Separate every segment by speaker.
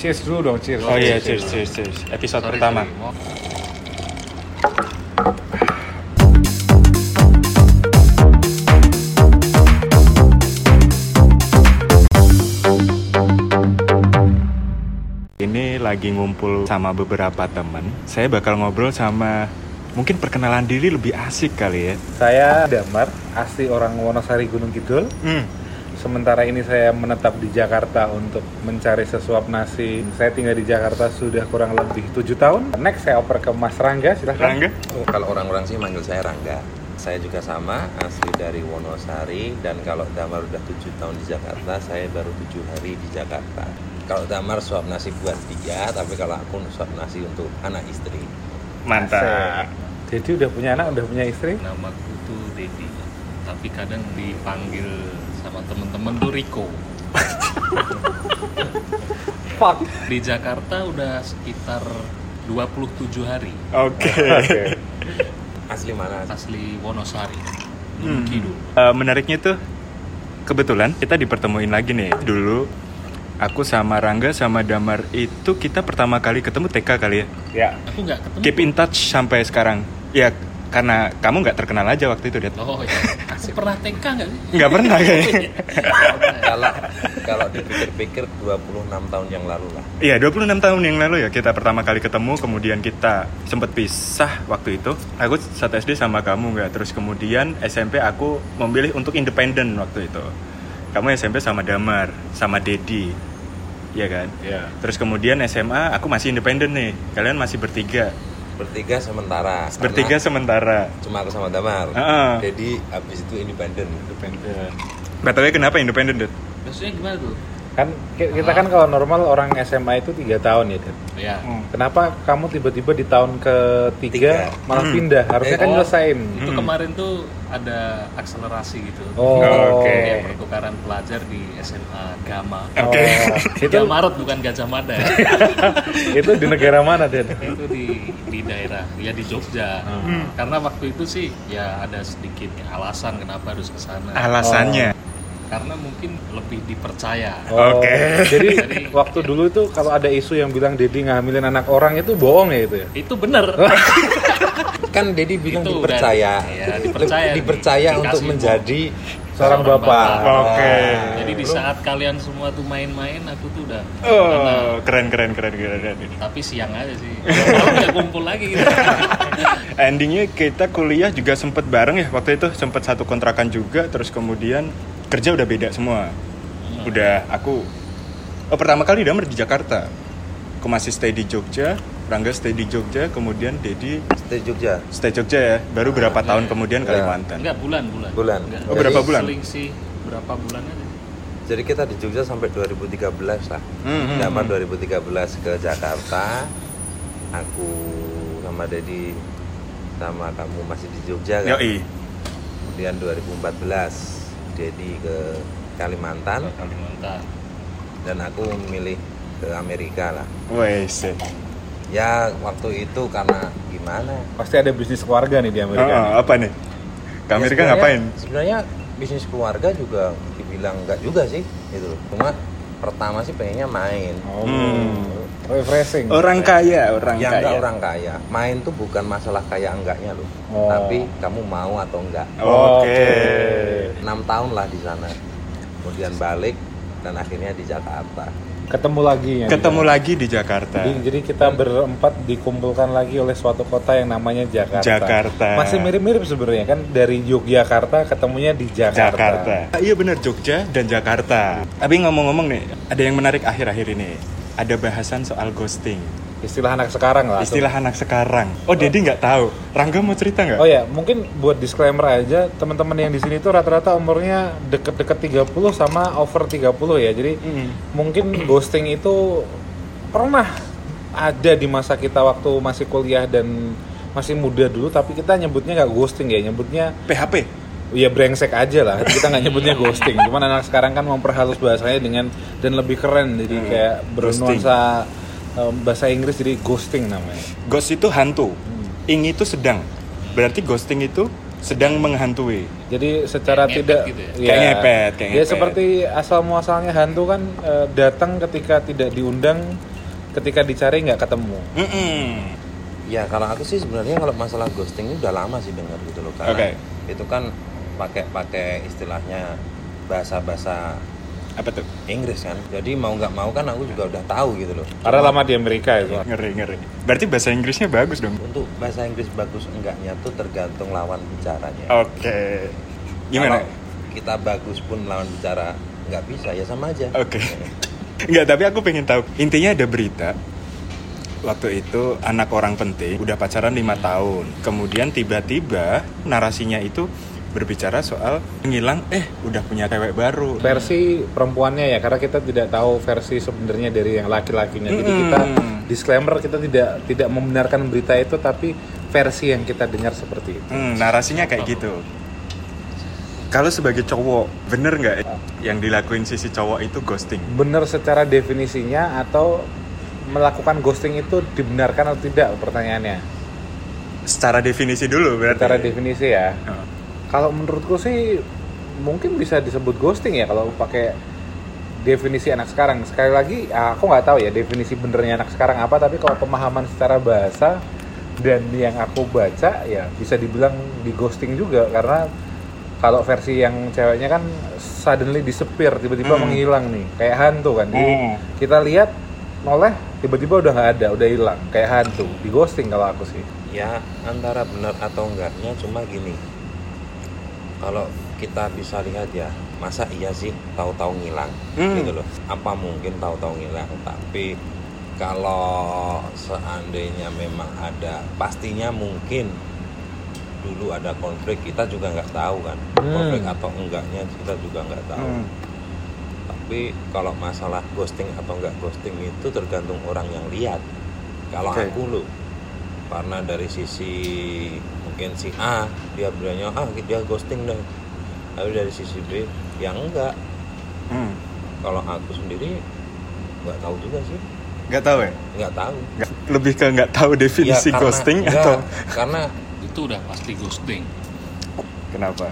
Speaker 1: Cheers dulu dong, cheers. Nah.
Speaker 2: Oh iya, cheers, cheers, cheers. Episode
Speaker 3: Sorry,
Speaker 2: pertama.
Speaker 3: sorry, mau-
Speaker 2: Ini lagi ngumpul sama beberapa temen. Saya bakal ngobrol sama mungkin perkenalan diri lebih asik kali ya.
Speaker 1: Saya Damar, asli orang Wonosari Gunung Kidul.
Speaker 2: Hmm.
Speaker 1: Sementara ini saya menetap di Jakarta untuk mencari sesuap nasi. Saya tinggal di Jakarta sudah kurang lebih tujuh tahun. Next saya oper ke Mas Rangga, silahkan.
Speaker 2: Rangga?
Speaker 3: Oh, Kalau orang-orang sih manggil saya Rangga. Saya juga sama, asli dari Wonosari dan kalau Damar udah tujuh tahun di Jakarta, saya baru tujuh hari di Jakarta. Kalau Damar suap nasi buat dia, tapi kalau aku suap nasi untuk anak istri.
Speaker 2: Mantap.
Speaker 1: Jadi udah punya anak, udah punya istri.
Speaker 4: Namaku tuh Dedi, tapi kadang dipanggil sama temen-temen tuh Riko.
Speaker 1: Fuck.
Speaker 4: Di Jakarta udah sekitar 27 hari,
Speaker 2: Oke.
Speaker 1: Oke.
Speaker 3: Asli mana?
Speaker 4: asli Wonosari, Gunung
Speaker 2: Hmm.
Speaker 4: Kidul.
Speaker 2: Eh, menariknya tuh kebetulan kita dipertemuin lagi nih. Dulu aku sama Rangga sama Damar itu kita pertama kali ketemu TK kali ya.
Speaker 1: Ya.
Speaker 4: Aku nggak ketemu.
Speaker 2: Keep in touch sampai sekarang. Ya karena kamu nggak terkenal aja waktu itu, Dad.
Speaker 4: Oh ya, aku pernah TK nggak sih?
Speaker 2: Nggak pernah kayaknya.
Speaker 3: Kalau kalau dipikir-pikir 26 tahun yang lalu lah.
Speaker 2: Iya, 26 tahun yang lalu ya kita pertama kali ketemu, kemudian kita sempet pisah waktu itu. Aku satu SD sama kamu nggak, terus kemudian SMP aku memilih untuk independen waktu itu. Kamu SMP sama Damar, sama Dedi, iya kan?
Speaker 1: Ya.
Speaker 2: Terus kemudian SMA aku masih independen nih, kalian masih bertiga,
Speaker 3: Bertiga sementara.
Speaker 2: bertiga
Speaker 3: Karena
Speaker 2: sementara.
Speaker 3: cuma aku sama Damar.
Speaker 2: Heeh.
Speaker 3: Jadi habis itu independen.
Speaker 2: Betulnya ya kenapa independen? Dut?
Speaker 4: Maksudnya gimana tuh?
Speaker 1: Kan ki- kita kan kalau normal orang SMA itu tiga tahun ya, Dad.
Speaker 4: Ya,
Speaker 2: Hmm.
Speaker 1: Kenapa kamu tiba-tiba di tahun ketiga
Speaker 3: Tiga.
Speaker 1: malah
Speaker 2: Hmm.
Speaker 1: pindah? Harusnya
Speaker 3: Eh,
Speaker 1: kan
Speaker 4: oh.
Speaker 1: nyelesain.
Speaker 4: itu
Speaker 2: Hmm.
Speaker 4: kemarin tuh ada akselerasi gitu.
Speaker 1: Oh.
Speaker 2: Oke.
Speaker 4: Kayak pertukaran pelajar di SMA Gama.
Speaker 2: Oke.
Speaker 1: Oh, itu
Speaker 4: 3 Maret bukan Gajah Mada ya.
Speaker 1: itu di negara mana, Den?
Speaker 4: itu di di daerah ya di Jogja
Speaker 2: Hmm.
Speaker 4: karena waktu itu sih ya ada sedikit alasan kenapa harus ke
Speaker 2: Ah.
Speaker 4: sana
Speaker 2: Alasannya?
Speaker 4: karena mungkin lebih dipercaya
Speaker 1: Oh,
Speaker 2: Oke.
Speaker 1: Jadi
Speaker 4: Jadi-
Speaker 1: waktu dulu itu kalau ada isu yang bilang Dedi ngambilin anak orang itu bohong ya itu ya.
Speaker 4: itu bener
Speaker 3: Kan Dedi bilang
Speaker 4: Itu
Speaker 3: dipercaya.
Speaker 4: udah- ya, dipercaya nih.
Speaker 3: dipercaya untuk
Speaker 4: Dikasih
Speaker 3: menjadi
Speaker 1: Seorang
Speaker 4: Seorang
Speaker 1: bapak.
Speaker 4: bapak.
Speaker 2: Oke.
Speaker 4: jadi di saat kalian semua tuh main-main aku tuh udah
Speaker 2: Oh, keren keren keren keren. keren.
Speaker 4: tapi siang aja sih malam nggak kumpul lagi gitu
Speaker 2: Endingnya kita kuliah juga sempet bareng ya waktu itu sempet satu kontrakan juga terus kemudian kerja udah beda semua. Udah aku oh, pertama kali Damar di Jakarta. Aku masih stay di Jogja, Rangga stay di Jogja, kemudian Dedi
Speaker 3: Di Jogja.
Speaker 2: stay Jogja ya. Baru berapa tahun kemudian
Speaker 3: Ya.
Speaker 2: Kalimantan.
Speaker 4: enggak bulan bulan
Speaker 3: Bulan.
Speaker 4: Enggak.
Speaker 3: Oh,
Speaker 2: berapa
Speaker 4: Jadi
Speaker 2: bulan?
Speaker 4: selisih berapa bulan aja
Speaker 3: Jadi kita di Jogja sampai 2013 lah.
Speaker 2: Hmm, hmm,
Speaker 3: Zaman
Speaker 2: hmm.
Speaker 3: 2013 ke Jakarta, aku sama Dedi sama kamu masih di Jogja kan?
Speaker 2: Yoi.
Speaker 3: Kemudian 2014 Dedi ke Kalimantan
Speaker 2: Hmm.
Speaker 4: Kalimantan
Speaker 3: dan aku milih ke Amerika lah.
Speaker 2: Wes.
Speaker 3: Ya waktu itu karena gimana?
Speaker 1: Pasti ada bisnis keluarga nih di Amerika.
Speaker 2: Oh, apa nih? Ke
Speaker 3: Ya,
Speaker 2: Amerika
Speaker 3: sebenarnya-
Speaker 2: ngapain?
Speaker 3: Sebenarnya bisnis keluarga juga dibilang enggak juga sih gitu loh. Cuma pertama sih pengennya main.
Speaker 1: Oh.
Speaker 2: Hmm.
Speaker 1: Refreshing.
Speaker 2: Orang kaya, orang
Speaker 3: ya enggak
Speaker 2: kaya.
Speaker 3: orang kaya. Main tuh bukan masalah kaya enggaknya loh.
Speaker 1: Oh.
Speaker 3: Tapi kamu mau atau enggak.
Speaker 2: Oke.
Speaker 3: 6 tahun lah di sana. Kemudian balik dan akhirnya di Jakarta.
Speaker 1: Ketemu lagi ya.
Speaker 2: Ketemu lagi di Jakarta.
Speaker 1: Jadi, jadi kita berempat dikumpulkan lagi oleh suatu kota yang namanya Jakarta.
Speaker 2: Jakarta.
Speaker 1: Masih mirip-mirip sebenarnya kan dari Yogyakarta ketemunya di Jakarta.
Speaker 2: Jakarta. Iya benar Jogja dan Jakarta. Tapi ngomong-ngomong nih, ada yang menarik akhir-akhir ini. Ada bahasan soal ghosting.
Speaker 1: Istilah anak sekarang lah. tuh.
Speaker 2: Istilah anak sekarang. Oh, Dedi nggak tahu. Rangga mau cerita nggak?
Speaker 1: Oh ya, mungkin buat disclaimer aja, teman-teman yang di sini tuh rata-rata umurnya deket-deket 30 sama over 30 ya. Jadi
Speaker 2: Mm-mm.
Speaker 1: mungkin ghosting itu pernah ada di masa kita waktu masih kuliah dan masih muda dulu, tapi kita nyebutnya nggak ghosting ya, nyebutnya
Speaker 2: PHP.
Speaker 1: ya brengsek aja lah. Kita nggak nyebutnya ghosting. Cuman anak sekarang kan memperhalus bahasanya dengan dan lebih keren, jadi kayak
Speaker 2: ghosting.
Speaker 1: bernuansa um, bahasa Inggris jadi ghosting namanya.
Speaker 2: Ghost itu hantu. Ing itu sedang. Berarti ghosting itu sedang menghantui.
Speaker 1: Jadi secara
Speaker 4: Kayak
Speaker 1: tidak
Speaker 4: ngepet gitu ya?
Speaker 1: ya,
Speaker 2: Kayak ngepet, kayak
Speaker 1: ya
Speaker 2: ngepet.
Speaker 1: seperti asal muasalnya hantu kan eh, datang ketika e, tidak diundang ketika dicari nggak ketemu
Speaker 2: Mm-mm.
Speaker 3: Ya kalau aku sih sebenarnya kalau masalah ghosting ini udah lama sih dengar gitu loh karena
Speaker 2: Oke.
Speaker 3: itu kan pakai pakai istilahnya bahasa-bahasa
Speaker 2: Apa tuh?
Speaker 3: Inggris kan. Jadi mau nggak mau kan aku juga udah tahu gitu loh.
Speaker 1: karena lama di Amerika itu
Speaker 2: Ngeri ngeri. Berarti bahasa Inggrisnya bagus dong. Oke.
Speaker 3: Untuk bahasa Inggris bagus enggaknya tuh tergantung lawan bicaranya.
Speaker 2: Oh, Gimana?
Speaker 3: Kalau kita bagus pun lawan bicara nggak bisa ya sama aja.
Speaker 2: Oke. Enggak, tapi aku pengen tahu. Intinya ada berita waktu itu anak orang penting udah pacaran lima tahun. Kemudian tiba-tiba narasinya itu berbicara soal ngilang eh udah punya cewek baru.
Speaker 1: versi perempuannya ya karena kita tidak tahu versi sebenarnya dari yang laki-lakinya jadi
Speaker 2: Mm-mm.
Speaker 1: kita disclaimer kita tidak tidak membenarkan berita itu tapi versi yang kita dengar seperti itu
Speaker 2: Hmm, narasinya kayak gitu. Kalau sebagai cowok, bener nggak ya? yang dilakuin sisi cowok itu ghosting?
Speaker 1: benar secara definisinya atau melakukan ghosting itu dibenarkan atau tidak pertanyaannya
Speaker 2: Secara definisi dulu berarti.
Speaker 1: secara definisi ya
Speaker 2: Oh.
Speaker 1: kalau menurutku sih mungkin bisa disebut ghosting ya kalau pakai definisi anak sekarang sekali lagi aku nggak tahu ya definisi benernya anak sekarang apa tapi kalau pemahaman secara bahasa dan yang aku baca ya bisa dibilang di ghosting juga karena kalau versi yang ceweknya kan suddenly disappear tiba-tiba
Speaker 2: Hmm.
Speaker 1: menghilang nih kayak hantu kan Jadi
Speaker 2: Hmm.
Speaker 1: kita lihat noleh tiba-tiba udah nggak ada udah hilang kayak hantu di ghosting kalau aku sih
Speaker 3: Ya antara benar atau enggaknya cuma gini. Kalau kita bisa lihat ya, masa iya sih tahu-tahu ngilang
Speaker 2: Hmm.
Speaker 3: gitu loh. Apa mungkin tahu-tahu ngilang, tapi kalau seandainya memang ada pastinya mungkin dulu ada konflik kita juga nggak tahu kan
Speaker 1: Hmm.
Speaker 3: konflik atau enggaknya kita juga nggak tahu
Speaker 2: Hmm.
Speaker 3: tapi kalau masalah ghosting atau nggak ghosting itu tergantung orang yang lihat kalau
Speaker 2: Oke.
Speaker 3: aku loh karena dari sisi mungkin si A dia bilangnya ah dia ghosting deh tapi dari sisi B yang enggak
Speaker 2: Hmm.
Speaker 3: kalau aku sendiri nggak tahu juga sih
Speaker 2: Nggak tahu ya?
Speaker 3: nggak tahu
Speaker 2: Nggak- lebih ke nggak tahu
Speaker 3: Ya,
Speaker 2: definisi
Speaker 3: karena-
Speaker 2: ghosting
Speaker 3: enggak,
Speaker 2: atau
Speaker 3: karena
Speaker 4: itu udah pasti ghosting
Speaker 2: kenapa?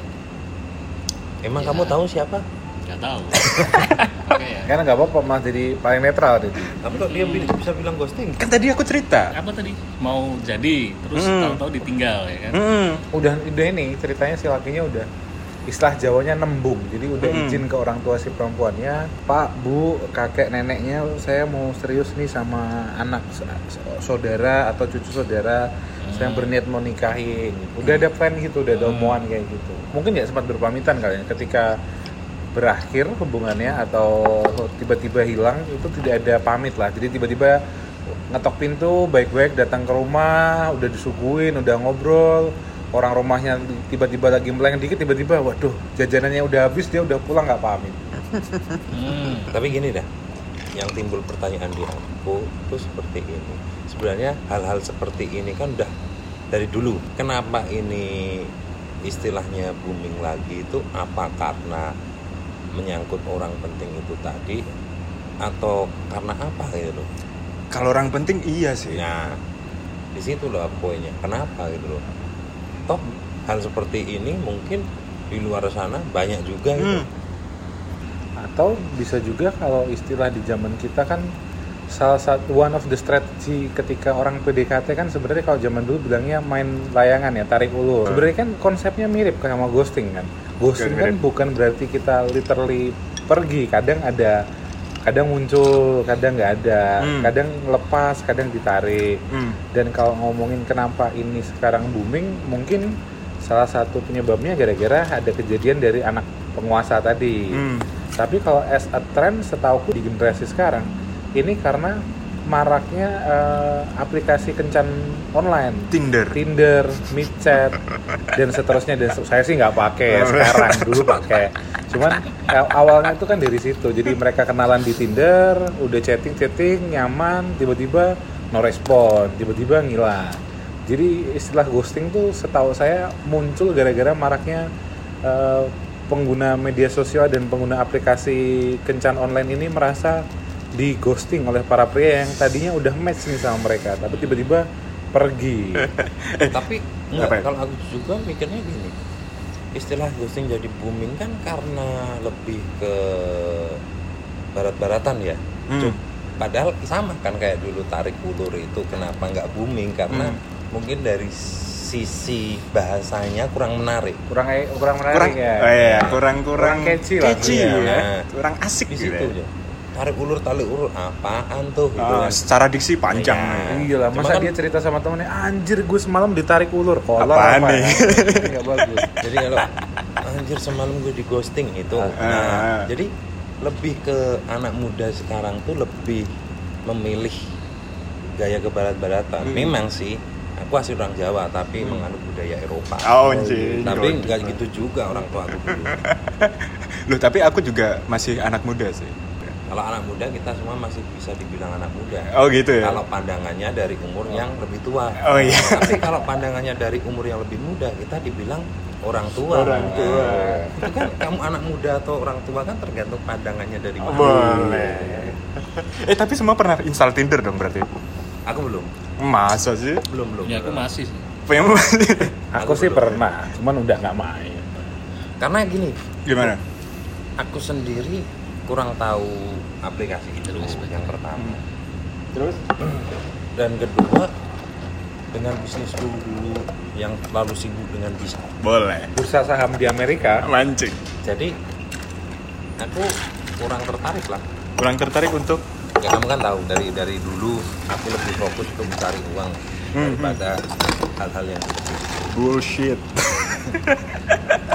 Speaker 3: emang
Speaker 4: Ya.
Speaker 3: kamu tahu siapa
Speaker 4: nggak tahu Oke ya.
Speaker 1: karena nggak apa-apa mas jadi paling netral jadi
Speaker 3: tapi kok dia bi- bisa bilang ghosting
Speaker 2: Kan tadi aku cerita.
Speaker 4: apa tadi mau jadi terus
Speaker 2: Hmm.
Speaker 4: tahu-tahu ditinggal ya kan
Speaker 2: Hmm.
Speaker 1: udah udah ini ceritanya si lakinya udah istilah Jawanya nembung jadi udah
Speaker 2: Mm-mm.
Speaker 1: izin ke orang tua si perempuannya pak bu kakek neneknya saya mau serius nih sama anak s- s- saudara atau cucu saudara saya berniat mau nikahin udah ada plan gitu udah ada omongan kayak gitu mungkin ya sempat berpamitan kali ya ketika berakhir hubungannya atau tiba-tiba hilang itu tidak ada pamit lah jadi tiba-tiba ngetok pintu baik-baik datang ke rumah udah disuguhin udah ngobrol orang rumahnya tiba-tiba lagi meleng dikit tiba-tiba waduh jajanannya udah habis dia udah pulang nggak pamit
Speaker 4: Hmm.
Speaker 3: Tapi gini dah, yang timbul pertanyaan di aku itu seperti ini. Sebenarnya hal-hal seperti ini kan udah dari dulu. Kenapa ini istilahnya booming lagi itu apa karena menyangkut orang penting itu tadi atau karena apa gitu loh.
Speaker 2: Kalau orang penting iya sih.
Speaker 3: Nah, di situ loh poinnya. Kenapa gitu loh. Toh hal seperti ini mungkin di luar sana banyak juga gitu.
Speaker 2: Hmm.
Speaker 1: atau bisa juga kalau istilah di zaman kita kan salah satu one of the strategy ketika orang PDKT kan sebenarnya kalau zaman dulu bilangnya main layangan ya tarik ulur sebenarnya kan konsepnya mirip kayak sama ghosting kan ghosting
Speaker 2: Oke,
Speaker 1: kan
Speaker 2: mirip.
Speaker 1: bukan berarti kita literally pergi kadang ada kadang muncul kadang nggak ada
Speaker 2: Hmm.
Speaker 1: kadang lepas kadang ditarik
Speaker 2: Hmm.
Speaker 1: dan kalau ngomongin kenapa ini sekarang booming, mungkin salah satu penyebabnya gara-gara ada kejadian dari anak penguasa tadi.
Speaker 2: Hmm.
Speaker 1: Tapi kalau as a trend setauku di generasi sekarang, ini karena maraknya eh, aplikasi kencan online.
Speaker 2: Tinder.
Speaker 1: Tinder, Micet, dan seterusnya dan se- saya sih nggak pakai sekarang dulu pakai. Cuman eh, awalnya itu kan dari situ. Jadi mereka kenalan di Tinder, udah chatting chatting nyaman, tiba-tiba no respon, tiba-tiba ngilang. Jadi istilah ghosting tuh setahu saya muncul gara-gara maraknya eh, pengguna media sosial dan pengguna aplikasi kencan online ini merasa di ghosting oleh para pria yang tadinya udah match nih sama mereka, tapi tiba-tiba pergi.
Speaker 3: tapi
Speaker 2: Apa ya?
Speaker 3: enggak, kalau aku juga mikirnya gini istilah ghosting jadi booming kan karena lebih ke barat-baratan ya
Speaker 2: Hmm.
Speaker 3: Jog- padahal sama kan kayak dulu tarik ulur itu kenapa nggak booming karena mungkin dari sisi bahasanya kurang menarik
Speaker 1: kurang kurang menarik
Speaker 2: kurang
Speaker 1: ya
Speaker 2: oh, iya, kurang kurang
Speaker 1: Kurang catchy lah.
Speaker 2: ya.
Speaker 3: Iya.
Speaker 2: kurang asik
Speaker 3: di
Speaker 2: gitu
Speaker 3: situ
Speaker 2: ya.
Speaker 3: Jo. tarik ulur tarik ulur apaan tuh gitu
Speaker 2: Ah,
Speaker 3: kan.
Speaker 2: secara diksi panjang
Speaker 3: Iya.
Speaker 2: nih.
Speaker 1: Iya lah,
Speaker 3: Cuma
Speaker 1: masa
Speaker 3: kan-
Speaker 1: dia cerita sama temennya, anjir gue semalam ditarik ulur, kolor
Speaker 2: Apaan
Speaker 1: apa
Speaker 2: nih?
Speaker 1: ya?" Ini nggak bagus.
Speaker 3: jadi kalau anjir semalam gue di ghosting itu
Speaker 1: Ah.
Speaker 3: nah,
Speaker 2: Ah.
Speaker 3: jadi lebih ke anak muda sekarang tuh lebih memilih gaya kebarat-baratan
Speaker 2: Hmm.
Speaker 3: memang sih aku asli orang Jawa tapi menganut budaya Eropa
Speaker 2: Oh, anjir.
Speaker 3: tapi
Speaker 2: Jodoh.
Speaker 3: nggak gitu juga orang tua aku dulu
Speaker 2: Loh, tapi aku juga masih anak muda sih.
Speaker 3: kalau anak muda kita semua masih bisa dibilang anak muda
Speaker 2: Oh, gitu ya.
Speaker 3: kalau pandangannya dari umur yang lebih tua
Speaker 2: Oh, iya.
Speaker 3: tapi kalau pandangannya dari umur yang lebih muda kita dibilang orang tua
Speaker 2: Orang tua.
Speaker 3: Nah, itu kan kamu anak muda atau orang tua kan tergantung pandangannya dari mana
Speaker 2: Boleh. Eh, tapi semua pernah install Tinder dong berarti.
Speaker 3: aku belum
Speaker 2: Masa sih?
Speaker 3: belum belum
Speaker 4: Ya aku masih sih.
Speaker 2: Punya
Speaker 1: Aku sih pernah, cuman udah nggak main.
Speaker 3: karena gini
Speaker 2: Gimana?
Speaker 3: aku sendiri kurang tahu aplikasi itu yang pertama
Speaker 2: Terus?
Speaker 3: dan kedua dengan bisnis dulu dulu yang terlalu sibuk dengan bisnis
Speaker 2: Boleh.
Speaker 1: Bursa saham di Amerika,
Speaker 2: Mancing.
Speaker 3: jadi aku kurang tertarik lah
Speaker 2: Kurang tertarik untuk
Speaker 3: ya kamu kan tahu dari dari dulu aku lebih fokus ke mencari uang
Speaker 2: Hmm,
Speaker 3: daripada hal-hal yang seperti itu.
Speaker 2: bullshit.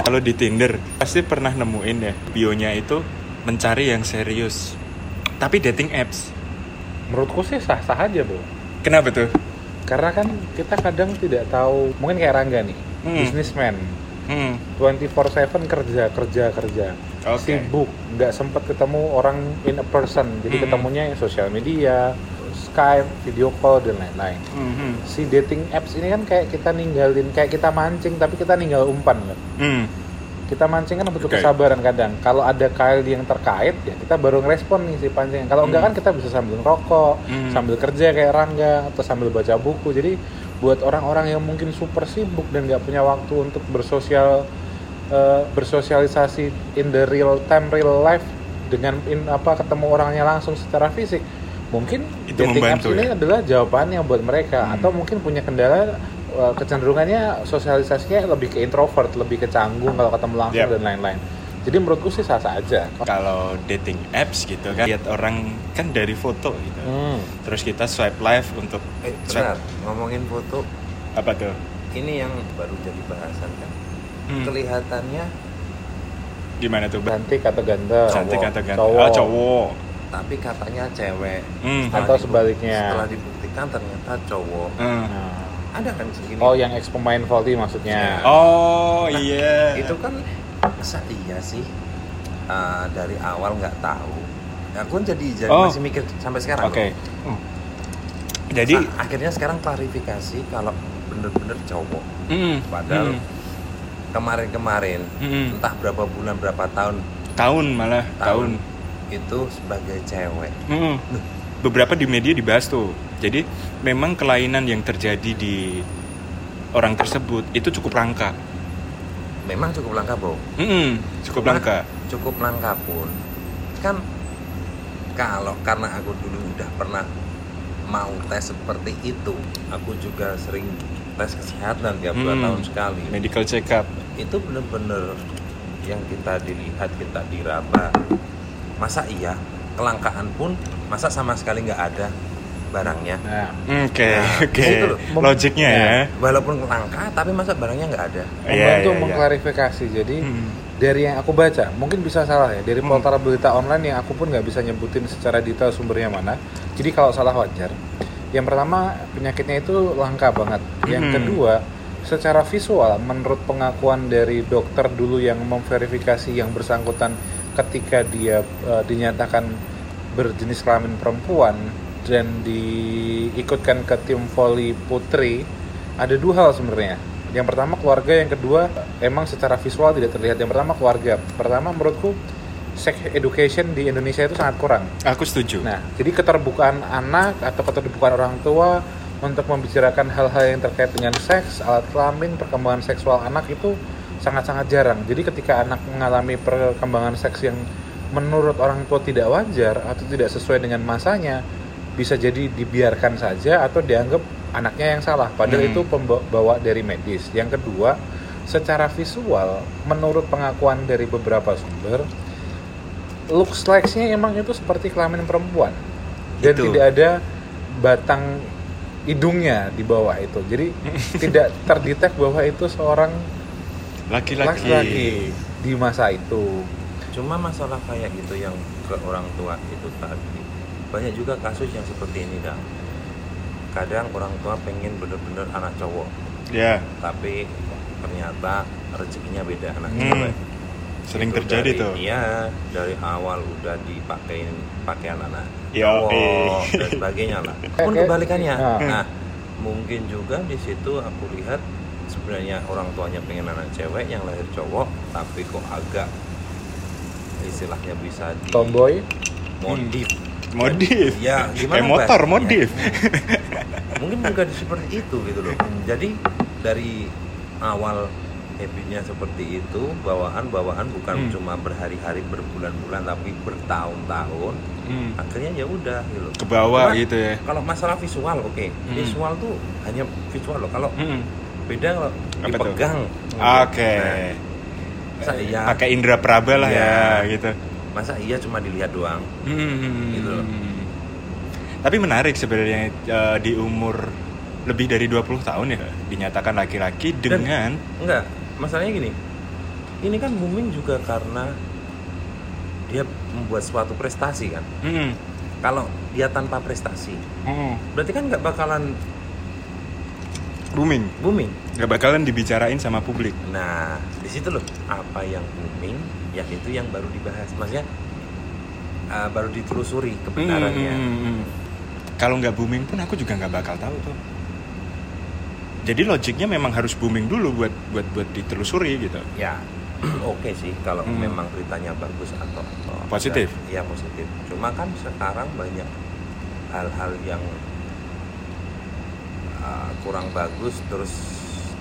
Speaker 2: Kalau di Tinder pasti pernah nemuin ya bionya itu mencari yang serius. Tapi dating apps.
Speaker 1: menurutku sih sah-sah aja bu.
Speaker 2: Kenapa tuh?
Speaker 1: Karena kan kita kadang tidak tahu, mungkin kayak Rangga nih,
Speaker 2: Hmm.
Speaker 1: bisnismen,
Speaker 2: Hmm.
Speaker 1: 24/7 kerja kerja kerja,
Speaker 2: Oke.
Speaker 1: sibuk, nggak sempet ketemu orang in a person, jadi
Speaker 2: Hmm.
Speaker 1: ketemunya ya sosial media, Skype, video call dan lain-lain.
Speaker 2: Hmm, hmm.
Speaker 1: Si dating apps ini kan kayak kita ninggalin, kayak kita mancing tapi kita ninggal umpan kan.
Speaker 2: Hmm.
Speaker 1: kita mancing kan butuh
Speaker 2: Oke.
Speaker 1: kesabaran kadang kalau ada kail yang terkait ya kita baru ngerespon nih si pancingan kalau enggak kan kita bisa sambil ngerokok
Speaker 2: Hmm.
Speaker 1: sambil kerja kayak Rangga atau sambil baca buku jadi buat orang-orang yang mungkin super sibuk dan nggak punya waktu untuk bersosial eh, bersosialisasi in the real time real life dengan in apa ketemu orangnya langsung secara fisik mungkin
Speaker 2: Itu
Speaker 1: dating apps
Speaker 2: membantu,
Speaker 1: ini
Speaker 2: ya?
Speaker 1: adalah jawabannya buat mereka
Speaker 2: Hmm.
Speaker 1: atau mungkin punya kendala eh, kecenderungannya sosialisasinya lebih ke introvert lebih ke canggung kalau ketemu langsung
Speaker 2: Yep.
Speaker 1: dan lain-lain jadi menurutku sih sah-sah aja
Speaker 2: Kalau dating apps gitu kan lihat orang kan dari foto gitu.
Speaker 1: hmm.
Speaker 2: Terus kita swipe live untuk
Speaker 3: eh
Speaker 2: swipe-
Speaker 3: benar ngomongin foto
Speaker 2: apa tuh?
Speaker 3: ini yang baru jadi bahasan kan
Speaker 2: Hmm.
Speaker 3: kelihatannya
Speaker 2: Gimana tuh? Bang?
Speaker 1: cantik atau ganteng
Speaker 2: Cantik atau ganteng?
Speaker 1: Kan Cowok.
Speaker 2: Oh, cowok.
Speaker 3: tapi katanya cewek
Speaker 2: Hmm.
Speaker 3: Setelah
Speaker 1: Atau
Speaker 3: dibu-
Speaker 1: sebaliknya.
Speaker 3: setelah dibuktikan ternyata cowok
Speaker 2: Hmm.
Speaker 1: Nah.
Speaker 3: ada kan segini
Speaker 1: oh yang ex pemain volley maksudnya
Speaker 2: iya. Oh iya.
Speaker 3: Nah, itu kan masa iya sih Ah, dari awal nggak tahu aku kan jadi, jadi
Speaker 2: Oh.
Speaker 3: masih mikir sampai sekarang
Speaker 2: Oke.
Speaker 3: loh.
Speaker 2: Hmm. Jadi
Speaker 3: Nah, akhirnya sekarang klarifikasi kalau bener-bener cowok
Speaker 2: hmm,
Speaker 3: Padahal
Speaker 2: hmm,
Speaker 3: kemarin-kemarin
Speaker 2: hmm.
Speaker 3: entah berapa bulan berapa tahun
Speaker 2: tahun malah tahun.
Speaker 3: itu sebagai cewek
Speaker 2: Mm-mm. Beberapa di media dibahas tuh. Jadi memang kelainan yang terjadi di orang tersebut itu cukup langka.
Speaker 3: memang cukup langka bro
Speaker 2: Mm-mm, cukup langka.
Speaker 3: cukup langka pun kan kalau karena aku dulu udah pernah mau tes seperti itu aku juga sering tes kesehatan tiap dua
Speaker 2: Hmm.
Speaker 3: tahun sekali
Speaker 2: Medical check up.
Speaker 3: itu bener-bener yang kita dilihat kita diraba masa iya kelangkaan pun masa sama sekali nggak ada barangnya
Speaker 1: nah
Speaker 2: Mm, Oke, oke.
Speaker 3: itu loh,
Speaker 1: mem-
Speaker 2: Logiknya ya.
Speaker 3: walaupun langka tapi masa barangnya nggak ada
Speaker 2: Iya,
Speaker 1: membantu
Speaker 2: iya, iya.
Speaker 1: mengklarifikasi jadi
Speaker 2: Mm.
Speaker 1: dari yang aku baca mungkin bisa salah ya dari
Speaker 2: Hmm.
Speaker 1: portal berita online yang aku pun nggak bisa nyebutin secara detail sumbernya mana jadi kalau salah wajar yang pertama penyakitnya itu langka banget yang
Speaker 2: Hmm.
Speaker 1: kedua secara visual menurut pengakuan dari dokter dulu yang memverifikasi yang bersangkutan ketika dia eh, dinyatakan berjenis kelamin perempuan dan diikutkan ke tim voli putri ada dua hal sebenarnya yang pertama keluarga yang kedua emang secara visual tidak terlihat yang pertama keluarga pertama menurutku sex education di Indonesia itu sangat kurang
Speaker 2: Aku setuju.
Speaker 1: Nah, jadi keterbukaan anak atau keterbukaan orang tua untuk membicarakan hal-hal yang terkait dengan seks, alat kelamin, perkembangan seksual anak itu sangat-sangat jarang. Jadi ketika anak mengalami perkembangan seks yang menurut orang tua tidak wajar atau tidak sesuai dengan masanya bisa jadi dibiarkan saja atau dianggap anaknya yang salah padahal
Speaker 2: Hmm.
Speaker 1: itu pembawa dari medis yang kedua secara visual menurut pengakuan dari beberapa sumber looks like-nya emang itu seperti kelamin perempuan dan
Speaker 2: Itu.
Speaker 1: tidak ada batang hidungnya di bawah itu jadi tidak terdetek bahwa itu seorang
Speaker 2: laki-laki.
Speaker 1: laki-laki di masa itu
Speaker 3: Cuma masalah kayak gitu yang ke orang tua itu tadi banyak juga kasus yang seperti ini dang. Kadang orang tua pengen bener-bener anak cowok,
Speaker 2: Ya,
Speaker 3: tapi ternyata rezekinya beda anak
Speaker 2: Hmm,
Speaker 3: cewek.
Speaker 2: sering
Speaker 3: Itu
Speaker 2: terjadi
Speaker 3: dari-
Speaker 2: tuh.
Speaker 3: Iya, dari awal udah dipakein pakaian anak
Speaker 2: Yo,
Speaker 3: cowok
Speaker 2: eh.
Speaker 3: dan sebagainya lah.
Speaker 1: Kayak-
Speaker 3: Pun
Speaker 1: kayak-
Speaker 3: kebalikannya.
Speaker 1: Ah.
Speaker 2: Hmm.
Speaker 3: Nah, mungkin juga di situ aku lihat sebenarnya orang tuanya pengen anak cewek yang lahir cowok, tapi kok agak istilahnya bisa di
Speaker 1: tomboy
Speaker 3: modif.
Speaker 2: Modif.
Speaker 3: Ya,
Speaker 2: Kayak
Speaker 3: gimana
Speaker 2: eh, motor
Speaker 3: bahasanya?
Speaker 2: modif.
Speaker 3: Mungkin juga di- seperti itu gitu loh. Jadi dari awal habitnya seperti itu, bawaan-bawaan bukan
Speaker 2: Hmm.
Speaker 3: cuma berhari-hari, berbulan-bulan, tapi bertahun-tahun.
Speaker 2: Hmm.
Speaker 3: Akhirnya ya udah gitu loh.
Speaker 2: Ke bawah
Speaker 3: Cuma
Speaker 2: gitu ya.
Speaker 3: Kalau masalah visual, oke.
Speaker 2: Hmm.
Speaker 3: Visual tuh hanya visual loh. Kalau
Speaker 2: Mm-mm.
Speaker 3: beda kalau
Speaker 2: Apa tuh?
Speaker 3: dipegang.
Speaker 2: Oke. Eh,
Speaker 3: Nah, masa iya,
Speaker 2: Pakai indera peraba lah
Speaker 3: Iya.
Speaker 2: ya gitu.
Speaker 3: masa iya cuma dilihat doang.
Speaker 2: Hmm.
Speaker 3: Gitu loh.
Speaker 2: Tapi menarik sebenarnya eh, di umur lebih dari 20 tahun ya dinyatakan laki-laki
Speaker 3: Dan-
Speaker 2: dengan
Speaker 3: Enggak, masalahnya gini. Ini kan booming juga karena dia membuat suatu prestasi kan.
Speaker 2: Mm-mm.
Speaker 3: Kalau dia tanpa prestasi,
Speaker 2: Mm-mm.
Speaker 3: berarti kan nggak bakalan
Speaker 2: booming
Speaker 3: booming.
Speaker 2: nggak bakalan dibicarain sama publik.
Speaker 3: Nah, di situ loh apa yang booming, ya itu yang baru dibahas. Maksudnya eh, baru ditelusuri
Speaker 2: Hmm,
Speaker 3: kebenarannya.
Speaker 2: Mm-mm. ya. Kalau nggak booming pun aku juga nggak bakal tahu tuh. Jadi logiknya memang harus booming dulu buat buat buat ditelusuri gitu.
Speaker 3: Ya, oke sih kalau
Speaker 2: Hmm.
Speaker 3: memang beritanya bagus atau atau-
Speaker 2: Positif?
Speaker 3: Ya positif. Cuma kan sekarang banyak hal-hal yang uh, kurang bagus terus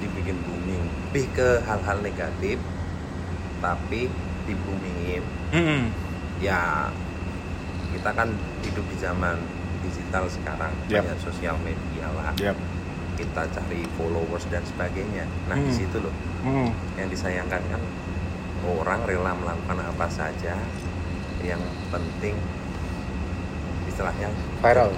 Speaker 3: dibikin booming. Lebih ke hal-hal negatif, tapi di boomingin. Hmm.
Speaker 2: Mm-mm.
Speaker 3: Ya, kita kan hidup di zaman digital sekarang
Speaker 2: Yap.
Speaker 3: banyak sosial media lah.
Speaker 2: Yap.
Speaker 3: Kita cari followers dan sebagainya. Nah di
Speaker 2: Hmm.
Speaker 3: situ loh
Speaker 2: Mm.
Speaker 3: yang disayangkan kan orang rela melakukan apa saja yang penting istilahnya
Speaker 1: viral